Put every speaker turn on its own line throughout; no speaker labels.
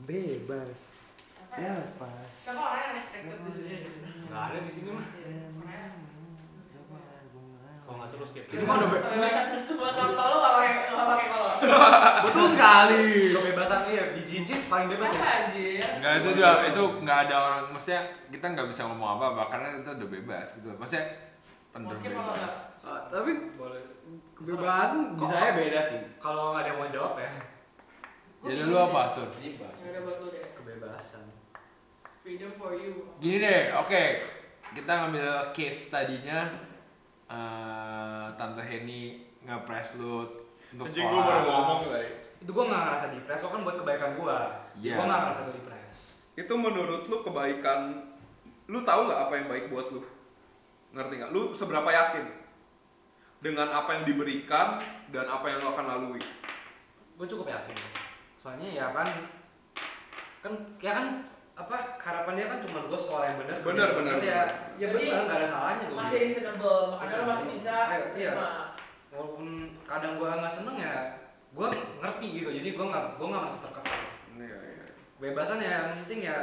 bebas
Ya.
apa
Coba orang yang restricted di sini.
Nggak ada di sini mah. Kalau nggak seru skip.
Itu mah udah be-
Buat orang tolol nggak pakai nggak pakai kolor.
betul sekali. Kebebasan iya di Jinjis paling bebas
Siapa
ya.
anjir?
Enggak itu udah itu nggak ada orang maksudnya kita nggak bisa ngomong apa apa karena itu udah bebas gitu loh. Maksudnya
Mau
tentu
skip apa nggak?
bebas.
Ah, tapi
Boleh.
kebebasan
Kok-
bisa ya beda sih.
Kalau nggak ada yang mau jawab ya.
Gua
Jadi
bingung
lu
sih.
apa tuh?
Ya udah buat lu deh.
Kebebasan.
Freedom for you.
Gini deh, oke. Kita ngambil case tadinya eh Tante Henny ngepres lu untuk
Anjing gue baru ngomong lah.
Itu gua nggak ngerasa di press. Kok kan buat kebaikan gua.
Iya.
Gua nggak ngerasa di press.
Itu menurut lu kebaikan lu tahu nggak apa yang baik buat lu? Ngerti nggak? Lu seberapa yakin dengan apa yang diberikan dan apa yang lu akan lalui?
gue cukup yakin soalnya ya kan kan ya kan apa harapannya kan cuma gue sekolah yang benar
Bener, bener,
ya ya
Jadi,
benar nggak ada salahnya gue
Masih reasonable, makanya lu masih bisa.
Ayo, iya.
terima.
walaupun kadang gue nggak seneng ya gue ngerti gitu jadi gue nggak gue nggak merasa terkekang
Iya, iya.
kebebasan ya yang penting ya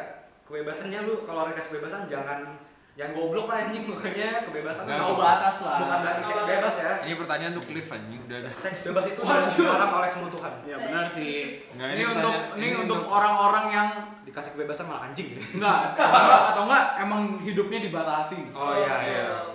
kebebasannya lu kalau orang kasih kebebasan jangan yang goblok lah anjing pokoknya kebebasan
Nggak,
Tahu
bukan-
batas
bukan
lah.
berarti seks bebas ya
Ini pertanyaan untuk Cliff anjing udah ada.
seks bebas itu dilarang oleh semua Tuhan
Ya benar sih.
Nggak,
ini,
ini
untuk
pertanyaan-
ini,
ini
untuk
untuk-
orang-orang yang
dikasih kebebasan malah anjing
enggak atau enggak, atau enggak emang hidupnya dibatasi.
oh iya iya
Oh.